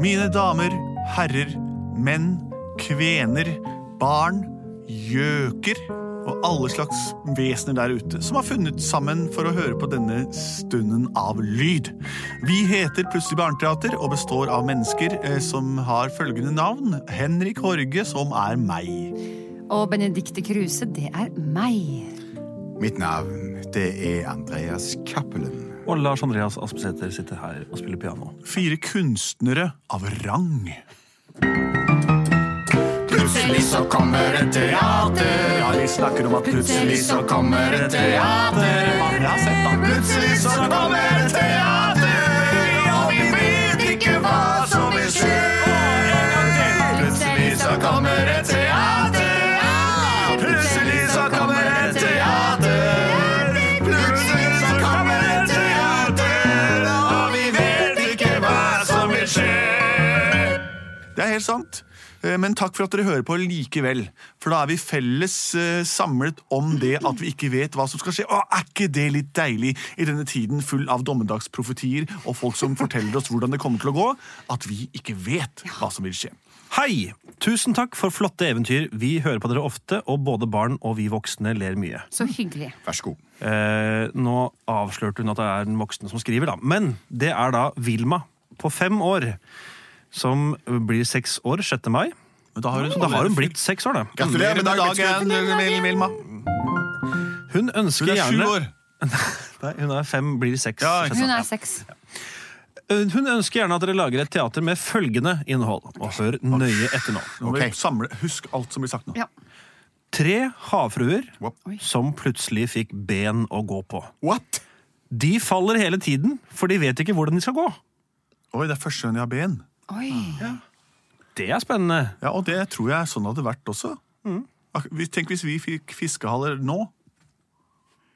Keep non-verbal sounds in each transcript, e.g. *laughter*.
Mine damer, herrer, menn, kvener, barn, gjøker og alle slags vesener der ute som har funnet sammen for å høre på denne stunden av lyd. Vi heter Plutselig barneteater og består av mennesker eh, som har følgende navn. Henrik Horge, som er meg. Og Benedicte Kruse, det er meg. Mitt navn, det er Andreas Cappelen. Og Lars Andreas Aspesæter sitter her og spiller piano. Fire kunstnere av rang. Plutselig så kommer et teater. Ja, vi snakker om at Plutselig så kommer et teater. Mange har sett da. Plutselig så kommer et teater. Og vi vet ikke hva som vil skje. Plutselig så kommer et teater. Ah! Plutselig så kommer et teater. Plutselig så kommer et teater. Og vi vet ikke hva som vil skje. Det er helt sant. Eh, Men takk for at dere hører på likevel. For da er vi felles eh, samlet om det at vi ikke vet hva som skal skje. Å, er ikke det litt deilig i denne tiden full av dommedagsprofetier og folk som forteller oss hvordan det kommer til å gå, at vi ikke vet hva som vil skje? Hei! Tusen takk for flotte eventyr. Vi hører på dere ofte, og både barn og vi voksne ler mye. Så hyggelig. Vær så god. Eh, nå avslørte hun at det er den voksne som skriver, da. Men det er da Vilma på fem år. Som blir seks år 6. mai. Men da har hun, Så da har hun blitt seks år, da. Gratulerer med dagen, Vilma. Hun ønsker Hun er sju gjerne år. Nei, hun er fem, blir seks. Ja, ikke sjette Eh, Hun er seks. Hun ønsker gjerne at dere lager et teater med følgende innhold. Og hør nøye etter nå. Nå må vi Ok. samle, husk alt som blir sagt nå. Ja. Tre havfruer Wow. som plutselig fikk ben å gå på. What? De faller hele tiden, for de vet ikke hvordan de skal gå. Oi, det er første gang jeg har ben. Oi. Det er spennende. Ja, og det tror jeg sånn hadde vært også. Ak- vi- Tenk hvis vi fikk fiskehaller nå.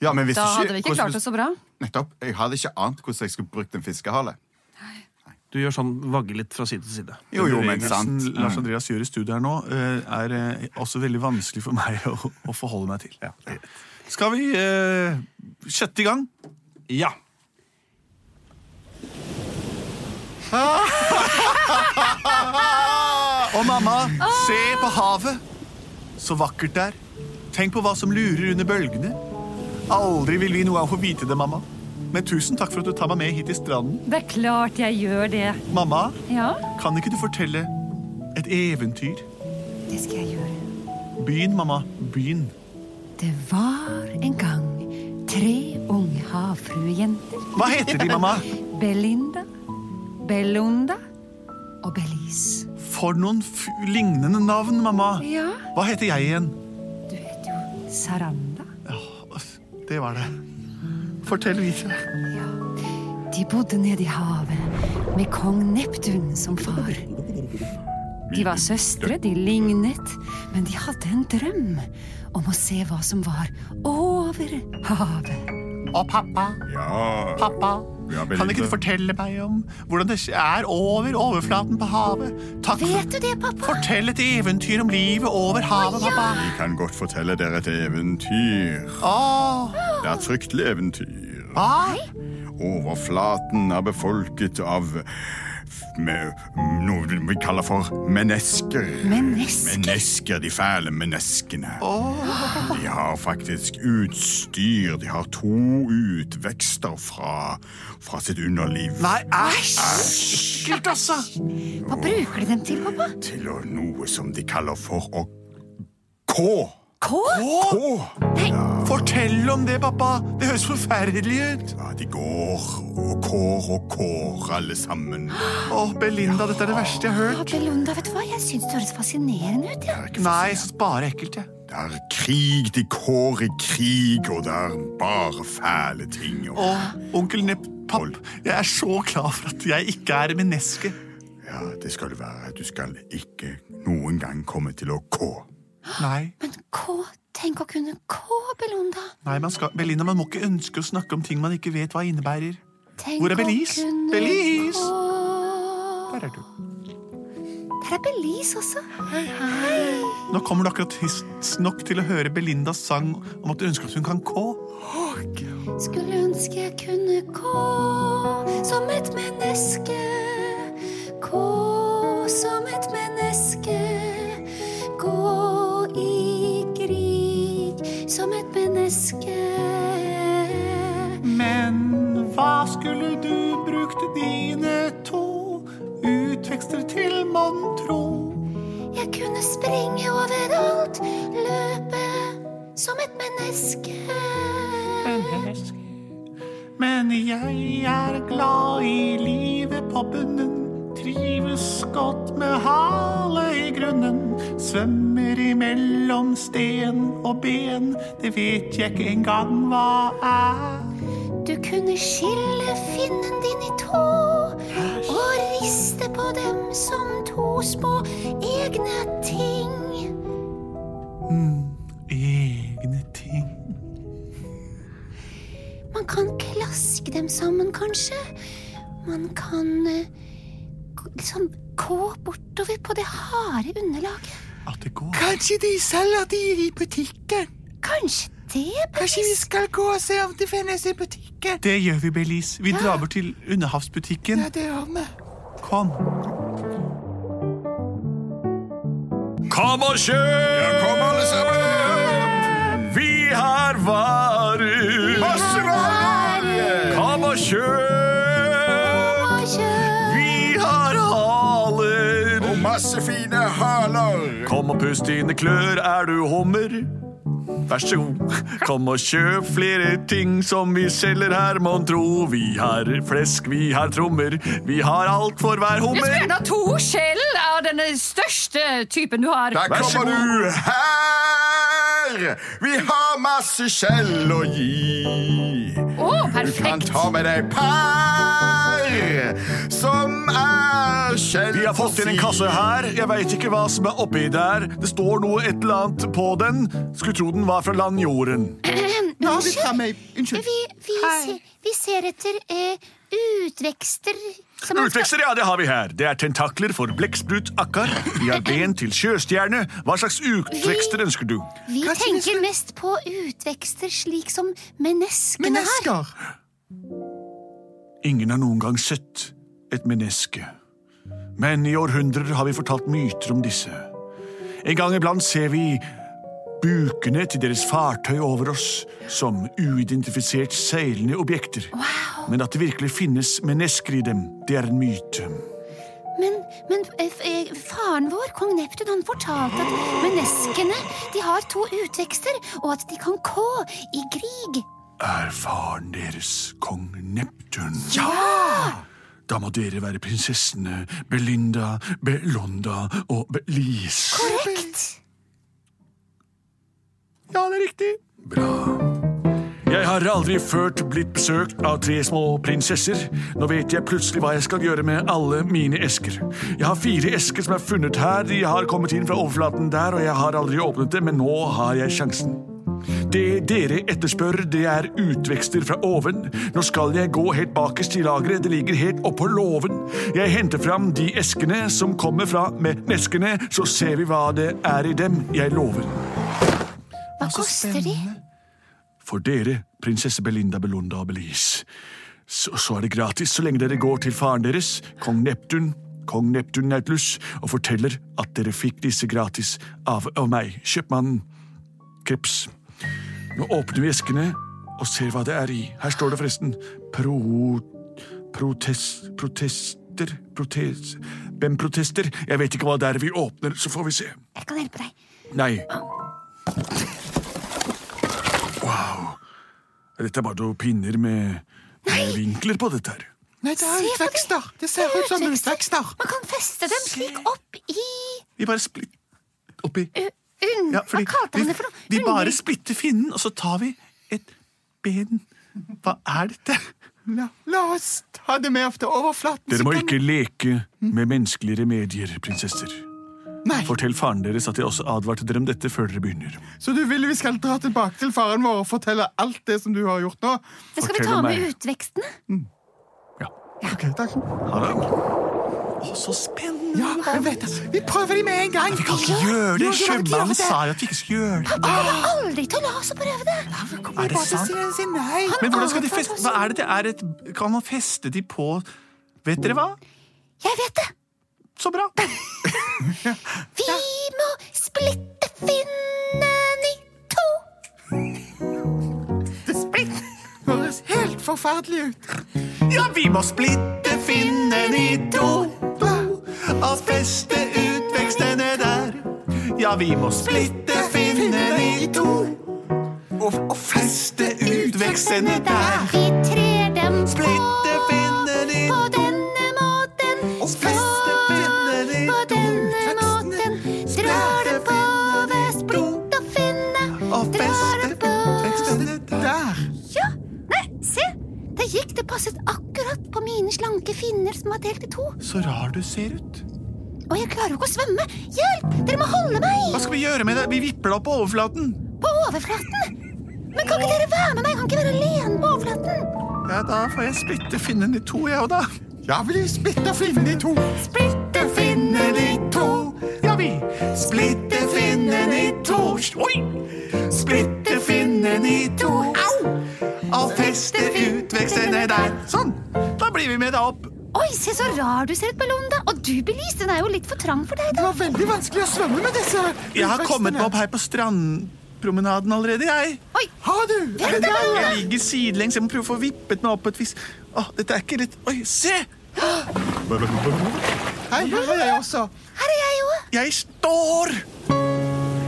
Ja, men hvis Da hadde vi ikke klart oss så bra. Nettopp. Jeg hadde ikke ant hvordan jeg skulle brukt en fiskehale. Du gjør sånn vagge litt fra side til side. Jo, jo, men Bevegelsen sant. Lars Andreas gjør i studiet her nå, eh, er eh, også veldig vanskelig for meg *laughs* å, å forholde meg til. Skal vi eh, sette i gang? Ja. Og mamma, se på havet! Så vakkert det er. Tenk på hva som lurer under bølgene. Aldri vil vi noe av å vite det, mamma. Men tusen takk for at du tar meg med hit til stranden. Det er klart jeg gjør det. Mamma, Ja, kan ikke du fortelle et eventyr? det skal jeg gjøre. Begynn, mamma. Begynn. Det var en gang tre unge havfruejenter. Hva heter de, mamma? Belinda, Bellunda og Belize. For noen f lignende navn, mamma. Ja, Hva heter jeg igjen? du heter jo Saranda. Det var det. Fortell videre. Ja. De bodde nede i havet med kong Neptun som far. De var søstre, de lignet, men de hadde en drøm om å se hva som var over havet. Å, pappa, Ja, pappa. ja Kan ikke du fortelle meg om hvordan det er over overflaten på havet? Takk Vet du det, pappa? Fortell et eventyr om livet over havet, pappa. Jeg kan godt fortelle dere et eventyr. Åh, Det er et fryktelig eventyr. hva? Overflaten er befolket av med noe vi kaller for mennesker. Mennesker? Mennesker, De fæle menneskene. De har faktisk utstyr. De har to utvekster fra, fra sitt underliv. Nei, æsj! Ekkelt, altså. Hva bruker de dem til, pappa? til å noe som de kaller for å K. Kål? K. Fortell om det, pappa. Det høres forferdelig ut. Ja, de går og kår og kår, alle sammen. Åh, Belinda, dette er det verste jeg har hørt. Abelunda, vet du hva? Jeg syns det høres fascinerende ut. Det er, ikke Nei, så bare ekkelt, jeg. det er krig, de kår i krig, og det er bare fæle ting. Og, Og onkel Nepp, papp, jeg er så glad for at jeg ikke er menneske. ja, det skal det være. Du skal ikke noen gang komme til å K. Nei, Men kå, tenk å kunne kå, Abelunda. nei man, skal, Belinda, man må ikke ønske å snakke om ting man ikke vet hva innebærer. Tenk Hvor er å Belize? kunne Belize! kå. Der er du. Der er Belize også. Nå kommer du akkurat tidsnok til å høre Belindas sang om at du ønsker at hun kan kå. Skulle ønske jeg kunne gå som et menneske. Gå tekster til, mon tro? Jeg kunne springe overalt, løpe som et menneske. Men jeg er glad i livet på bunnen. Trives godt med hale i grunnen. Svømmer imellom sten og ben. Det vet jeg ikke engang hva er. Du kunne skille finnen din i to og riste på dem som to små egne ting. Egne ting. Man kan klaske dem sammen, kanskje. Man kan eh, k- liksom gå bortover på det harde underlaget. At det går. Kanskje de selger de i butikken? Kanskje det Kanskje vi skal gå og se om det finnes i butikken? Det gjør vi, Belize. Vi drar bort til Underhavsbutikken. Ja, det gjør vi. Kom. Kom og kjøp! Ja, kom alle sammen! Vi har varer! Masse varer! Kom og kjøp! Vi har haler! Og masse fine haler! Kom og pust dine klør, er du hummer? Vær så god. Kom og kjøp flere ting som vi selger her, mon tro. Vi har flesk, vi har trommer, vi har alt for hver hummer. Gjerne to skjell av den største typen du har. Der Vær så kommer god. du her! Vi har masse skjell å gi. Å, Du kan perfekt! ta med deg par som er skjell Vi har fått inn en kasse her. Jeg veit ikke hå hva som er oppi der. Det står noe et eller annet på den. Skulle tro den var fra landjorden. Nå er vi fremme. Unnskyld. Vi, vi, Hei. ser, vi ser etter eh, utvekster som Ah, man skal- Utvekster, ja, det har vi her. Det er tentakler for blekksprut akkar. Vi har ben til sjøstjerne. Hva slags utvekster ønsker du? Vi Kanskje vi tenker skal- mest på utvekster slik som menneskene har. Mennesker. Ingen har noen gang sett et menneske. Men i århundrer har vi fortalt myter om disse. En gang iblant ser vi bukene til deres fartøy over oss som uidentifisert seilende objekter. Men at det virkelig finnes mennesker i dem, det er en myte. Men, men eh, f- eh, faren vår, kong Neptun, han fortalte at menneskene de har to utvekster, og at de kan kå i krig. Er faren deres kong Neptun? Ja! Da må dere være prinsessene Belinda, Belonda og Belize. Korrekt. Ja, det er riktig. Bra. Jeg har aldri ført blitt besøkt av tre små prinsesser. Nå vet jeg plutselig hva jeg skal gjøre med alle mine esker. Jeg har fire esker som er funnet her. De har kommet inn fra overflaten der, og jeg har aldri åpnet dem, men nå har jeg sjansen. Det dere etterspør, det er utvekster fra oven. Nå skal jeg gå helt bakerst i lageret, det ligger helt oppå låven. Jeg henter fram de eskene som kommer fra med neskene, så ser vi hva det er i dem, jeg lover. Hva koster de? For dere, prinsesse Belinda Belunda og Belize, så, så er det gratis så lenge dere går til faren deres, kong Neptun, kong Neptun Nautilus, og forteller at dere fikk disse gratis av, av meg, kjøpmannen Kreps. Nå åpner vi eskene og ser hva det er i. Her står det forresten pro... protest... protester... protes... Hvem protester? Jeg vet ikke hva det er vi åpner, så får vi se. Jeg kan hjelpe deg. Nei. Wow. Dette er bare noen pinner med, med vinkler på dette her. Nei, det Se er på de- utvekster. Det ser ut som utvekster. Man kan feste dem slik opp i Vi bare splitter oppi. unn... Ja, Hva fordi kalte vi, man det for noe? vi bare Under- splitter finnen, og så tar vi et ben. Hva er dette? La, la oss ta det med opp til overflaten. Dere så må kan- ikke leke med menneskelige remedier, prinsesser. Nei, Fortell faren deres at jeg også advarte dere om dette før dere begynner. Så du vil vi skal dra tilbake til faren vår og fortelle alt det som du har gjort nå? Men skal vi fortell ta med meg. utvekstene? Ok, takk. Ha det. Å, så spennende! Ja, men vet du, Vi prøver de med en gang. Vi kan Ikke gjør det! Sjømannen sa jo at vi ikke skulle gjøre det. Pappa kommer Ah! aldri til å la oss å prøve det. Er det sant? Nei. Men hvordan skal de feste? Hva er det det er et Kan man feste de på Vet dere hva? Jeg vet det. Så bra! Vi må splitte finnen i to. Det høres helt forferdelig ut. Ja, vi må splitte finnen i to, to beste utvekstene der. Ja, vi må splitte finnene i to. Og, og feste utvekstene der. Vi trer dem på Splitte finnene i på denne måten. Og feste finnene i På to. denne måten drar det på ved splitt og finne. Og Drar feste det på utvekstene der. Ja, nei, se! Det gikk, det passet akkurat på mine slanke finner som var delt i to. Så rar du ser ut. Og jeg klarer jo ikke å svømme! Hjelp! Dere må holde meg! Hva skal vi gjøre med det? Vi vipper deg opp på overflaten. På overflaten! Men kan ikke dere være med meg? Jeg kan ikke være alene på overflaten! Ja, da får jeg splitte finnene i to, jeg òg, da. Ja, vil jeg splitte filmene i to? Splitte finnene i to. Ja, vi splitter finnene i to. Oi! Splitter finnene i to. Au! Og fester utvekstene der. Sånn. Da blir vi med deg opp. Oi, se så rar du ser ut, Bellonda! Og du, Belize, den er jo litt for trang for deg, Det da. var veldig vanskelig å svømme med disse Jeg har kommet meg opp her på strandpromenaden allerede, jeg. Oi, Har du? Er det Vent da, deg? Jeg ligger sidelengs. Jeg må prøve å få vippet meg opp på et vis. Åh, dette er ikke litt Oi, se! Hei, her er jeg også. her er jeg jo! Jeg står!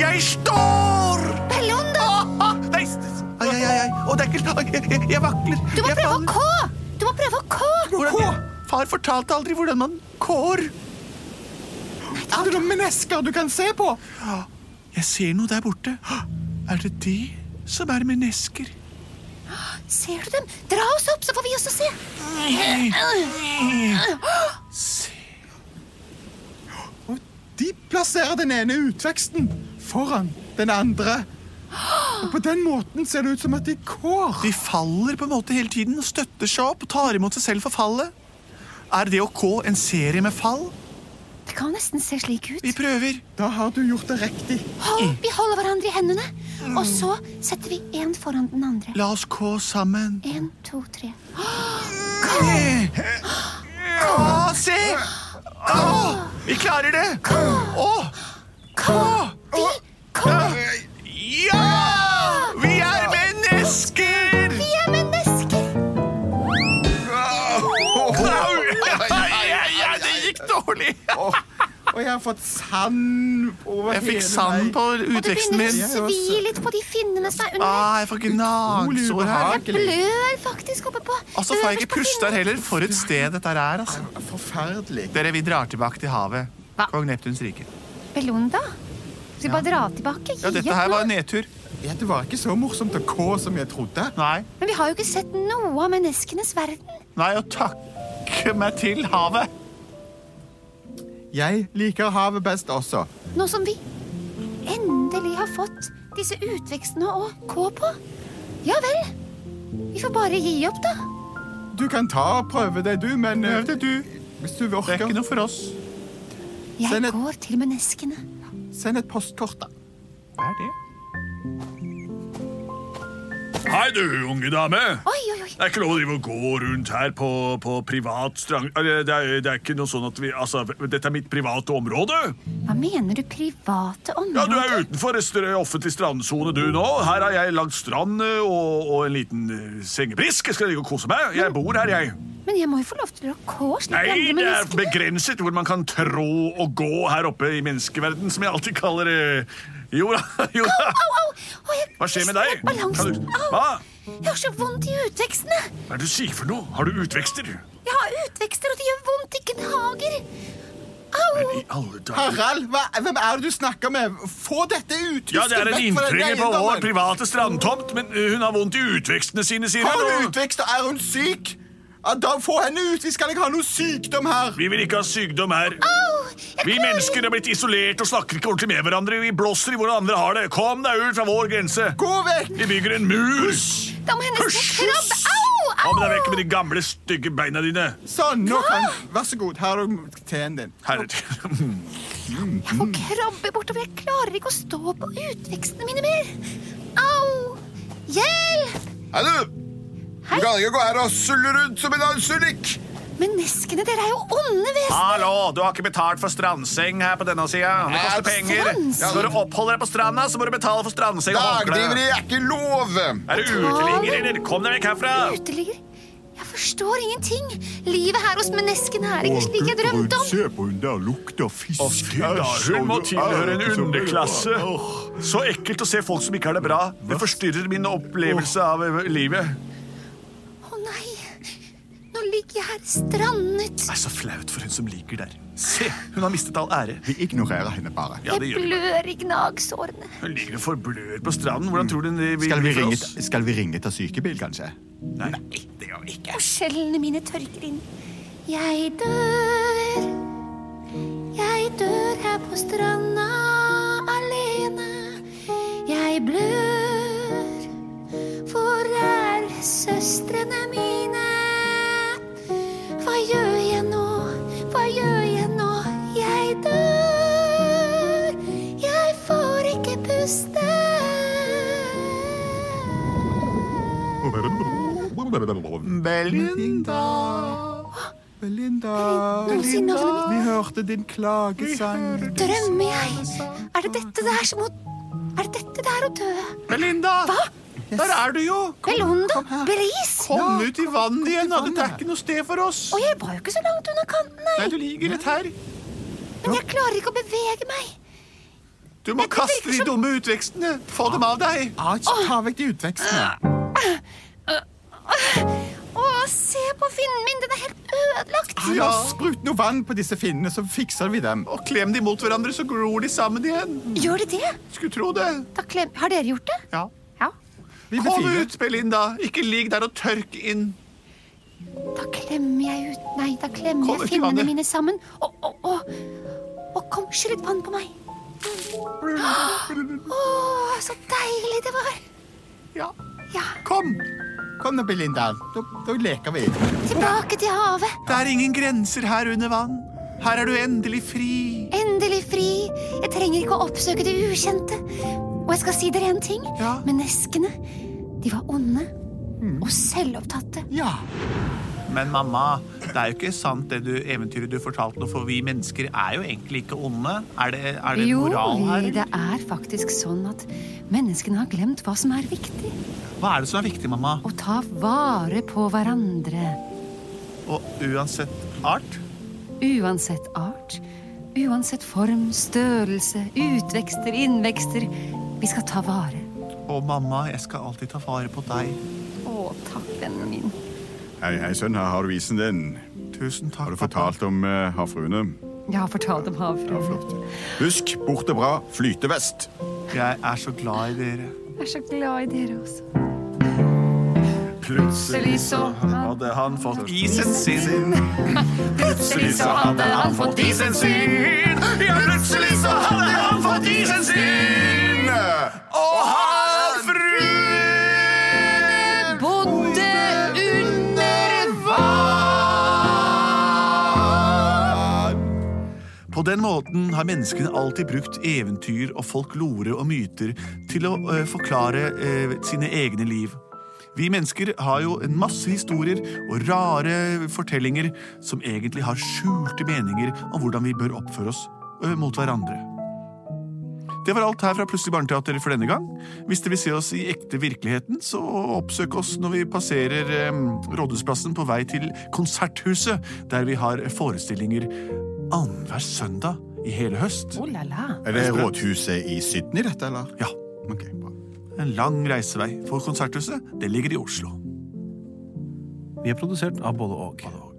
Jeg står! Bellonda! Ah, nei, s- s- ai, ai, ai, ai. Å, det er ikke lag. Jeg, *laughs* jeg vakler. Du må jeg prøve å faller. kå! Du må prøve å kå! Hvordan, far fortalte aldri hvordan man kår. Er det noen mennesker du kan se på? Jeg ser noe der borte. Er det de som er mennesker? Ser du dem? Dra oss opp, så får vi også se. De plasserer den ene utveksten foran den andre. Og på den måten ser det ut som at de kår. De faller på en måte hele tiden og støtter seg opp og tar imot seg selv for fallet. Er det å kå en serie med fall? Det kan nesten se slik ut. Vi prøver. Da har du gjort det riktig. Hold, vi holder hverandre i hendene, og så setter vi én foran den andre. La oss kå sammen. Én, to, tre. Å, se! Å, vi klarer det! Å! Vi kommer! Ja! Vi er mennesker! Vi er mennesker! Au! Ja, ja, det gikk dårlig. Og jeg har fått sand over Jeg fikk hele sand meg. på Og det utveksten begynner min. å svi litt på de finnene som er under. Ah, jeg får gnagsår her. Jeg blør faktisk oppe på Og så Altså, får jeg øverst ikke på puste her finnene. heller. For et sted dette her er, altså. Forferdelig. Dere, vi drar tilbake til havet. Hva? Kong Neptuns rike. Bellunda? Skal vi bare dra tilbake? Ja, Gi dette opp her var nå. en nedtur. Ja, Det var ikke så morsomt å kå som jeg trodde. Nei. Men vi har jo ikke sett noe av menneskenes verden. Nei, å takke meg til havet. Jeg liker havet best også. Nå som vi endelig har fått disse utvekstene å gå på. Ja vel. Vi får bare gi opp, da. Du kan ta og prøve det, du, men eh, Prøv det, du. hvis du Det er orker, ikke noe for oss. Jeg Send et- går til menneskene. send et postkort, da. Hva er det? Hei du, unge dame. Oi, oi, oi. Det er ikke lov å drive og gå rundt her på, på privat strang... Eller, Det er, det er ikke noe sånn at vi Altså, dette er mitt private område. Hva mener du private Ja, Du er områder? utenfor en str- offentlig strandsone, du nå. Her har jeg lagd strand eh, og, og en liten eh, sengebrisk. Jeg skal ligge og kose meg. Jeg bor her, jeg. Men jeg må jo få lov til å kå slik de Nei, andre det er menneskene. begrenset hvor man kan trå og gå her oppe i menneskeverden, som jeg alltid kaller eh, Jo *laughs* da, jo da. Au, au! Å, jeg Hva skjer med deg? slapp Balansen. Kan du- Au! Hva? Jeg har så vondt i utvekstene. Hva er det du sier for noe? Har du utvekster? Jeg har utvekster, og det gjør vondt i gnager. Au! I alle dager. Harald, hva, hvem er det du snakker med? Få dette uthuset Ja, det er en vekk fra denne inntrenger på eiendommen. vår private strandtomt, men eh, hun har vondt i utvekstene sine, sier Har hun hun. og- utvekst, og er hun syk? Ja, Da Få henne ut! Vi skal ikke ha noe sykdom her. Vi vil ikke ha sykdom her. Au! Jeg Vi klarer mennesker er blitt isolert og snakker ikke ordentlig med hverandre. Vi blåser i hvordan andre har det. Kom deg ut fra vår grense. Gå vekk! Vi bygger en mur. Da må jeg nesten krabbe. Au! Kom deg Au! vekk med de gamle, stygge beina dine. Sånn, nå kan Ah! Vær så god, her har du teen din. Herre Jeg får krabbe bortover. Jeg klarer ikke å stå på utvekstene mine mer. Au! Hjelp! Hei, du! Hei. Du kan ikke gå her og sulle rundt som en alsulik! Menneskene, dere er jo onde vesen. Hallo, du har ikke betalt for strandseng her på denne sida. Det koster penger. Strandseng? Når du oppholder deg på stranda, så må du betale for strandseng og håndkle. Dagdriveri er ikke lov! Ah. Er du utelinger, eller? Kom deg vekk herfra! Uteligger. Jeg forstår ingenting. Livet her hos menneskene er ikke slik jeg drømte om. Se på hun der lukter fisk. Fy da, hun må tilhøre en underklasse. Så ekkelt å se folk som ikke har det bra. Det forstyrrer min opplevelse av eh, livet. Å nei, nå ligger jeg her strandet. Det er så flaut for hun som ligger der. Se, hun har mistet all ære. Vi ignorerer henne bare. Ja, det Jeg gjør hun. blør i gnagsårene. Hun ligger og forblør på stranden. Hvordan tror du hun vil Skal vi for ringe, oss? skal vi ringe til sykebil, kanskje? Nei, det gjør vi ikke. og skjellene mine tørker inn. Jeg dør, jeg dør her på stranda alene. Jeg blør, hvor er søstrene mine? Hva gjør jeg nå, hva gjør jeg nå? Jeg dør, jeg får ikke puste. Belinda. Belinda. Ah, Nå sier navnet mitt. Vi hørte din klagesang. Drømmer jeg? Er det dette det er som å Er det dette det er å dø? Belinda! Hva? Der er du jo! Belondo? Bris? Kom ut i vannet igjen, da. Dette er ikke noe sted for oss. Og jeg var jo ikke så langt unna kanten, Nei, nei. du ligger rett her. Men jeg klarer ikke å bevege meg. Du må kaste de dumme utvekstene. Få dem av deg. Ja, ikke ta vekk de utvekstene. Å, se på finnen min, den er helt ødelagt. Ja, Sprut noe vann på disse finnene, så fikser vi dem. Og klem de mot hverandre, så gror de sammen igjen. Gjør det det? Skulle tro det. Da klem... Har dere gjort det? Ja. Ja. Vi blir Kom fine. ut, Belinda. Ikke ligg der og tørk inn. Da klemmer jeg ut Nei, da klemmer Kom ut i jeg finnene vannet. mine sammen. Å, å, å. Å, kom, skyll litt vann på *gasps* meg. Å, så deilig det var. Ja. Ja. Kom. Kom nå, Belinda. Da, da leker vi. Tilbake til havet. Det er ingen grenser her under vann. Her er du endelig fri. Endelig fri. Jeg trenger ikke å oppsøke det ukjente. Og jeg skal si dere en ting. Ja. Mm. Menneskene, de var onde og selvopptatte. Ja. Men mamma, det er jo ikke sant det du, eventyret du fortalte nå, for vi mennesker er jo egentlig ikke onde. Er det, er det Jo, moral her? vi, det er faktisk sånn at menneskene har glemt hva som er viktig. Hva er det som er viktig, mamma? Å ta vare på hverandre. Og uansett art? Uansett art, uansett form, størrelse, utvekster, innvekster. Vi skal ta vare. Og mamma, jeg skal alltid ta vare på deg. Å, takk, vennen min. Hei, hei, sønn. Her har du isen din. Tusen takk, Har du fortalt om uh, havfruene? Jeg har fortalt om Ja, havfruen. flott. Husk, borte bra, flytevest. pappa. Jeg er så glad i dere. Jeg er så glad i dere også. Plutselig så hadde han fått isen sin. Plutselig så hadde han fått isen sin. Ja, plutselig så hadde han fått isen sin. Og havfruen Bodde under På den måten har menneskene alltid brukt eventyr og folklore og myter til å eh, forklare eh, sine egne liv. Vi mennesker har jo en masse historier og rare fortellinger som egentlig har skjulte meninger om hvordan vi bør oppføre oss eh, mot hverandre. Det var alt her fra Plutselig barneteater for denne gang. Hvis dere vil se oss i ekte virkeligheten, så oppsøk oss når vi passerer eh, Rådhusplassen på vei til Konserthuset, der vi har forestillinger annenhver søndag i hele høst. Oh la la. Er Eh, det rådhuset i Sydney, dette, eller? Ja, Ok, bra. en lang reisevei for Konserthuset. Det ligger i Oslo. Vi er produsert av både og.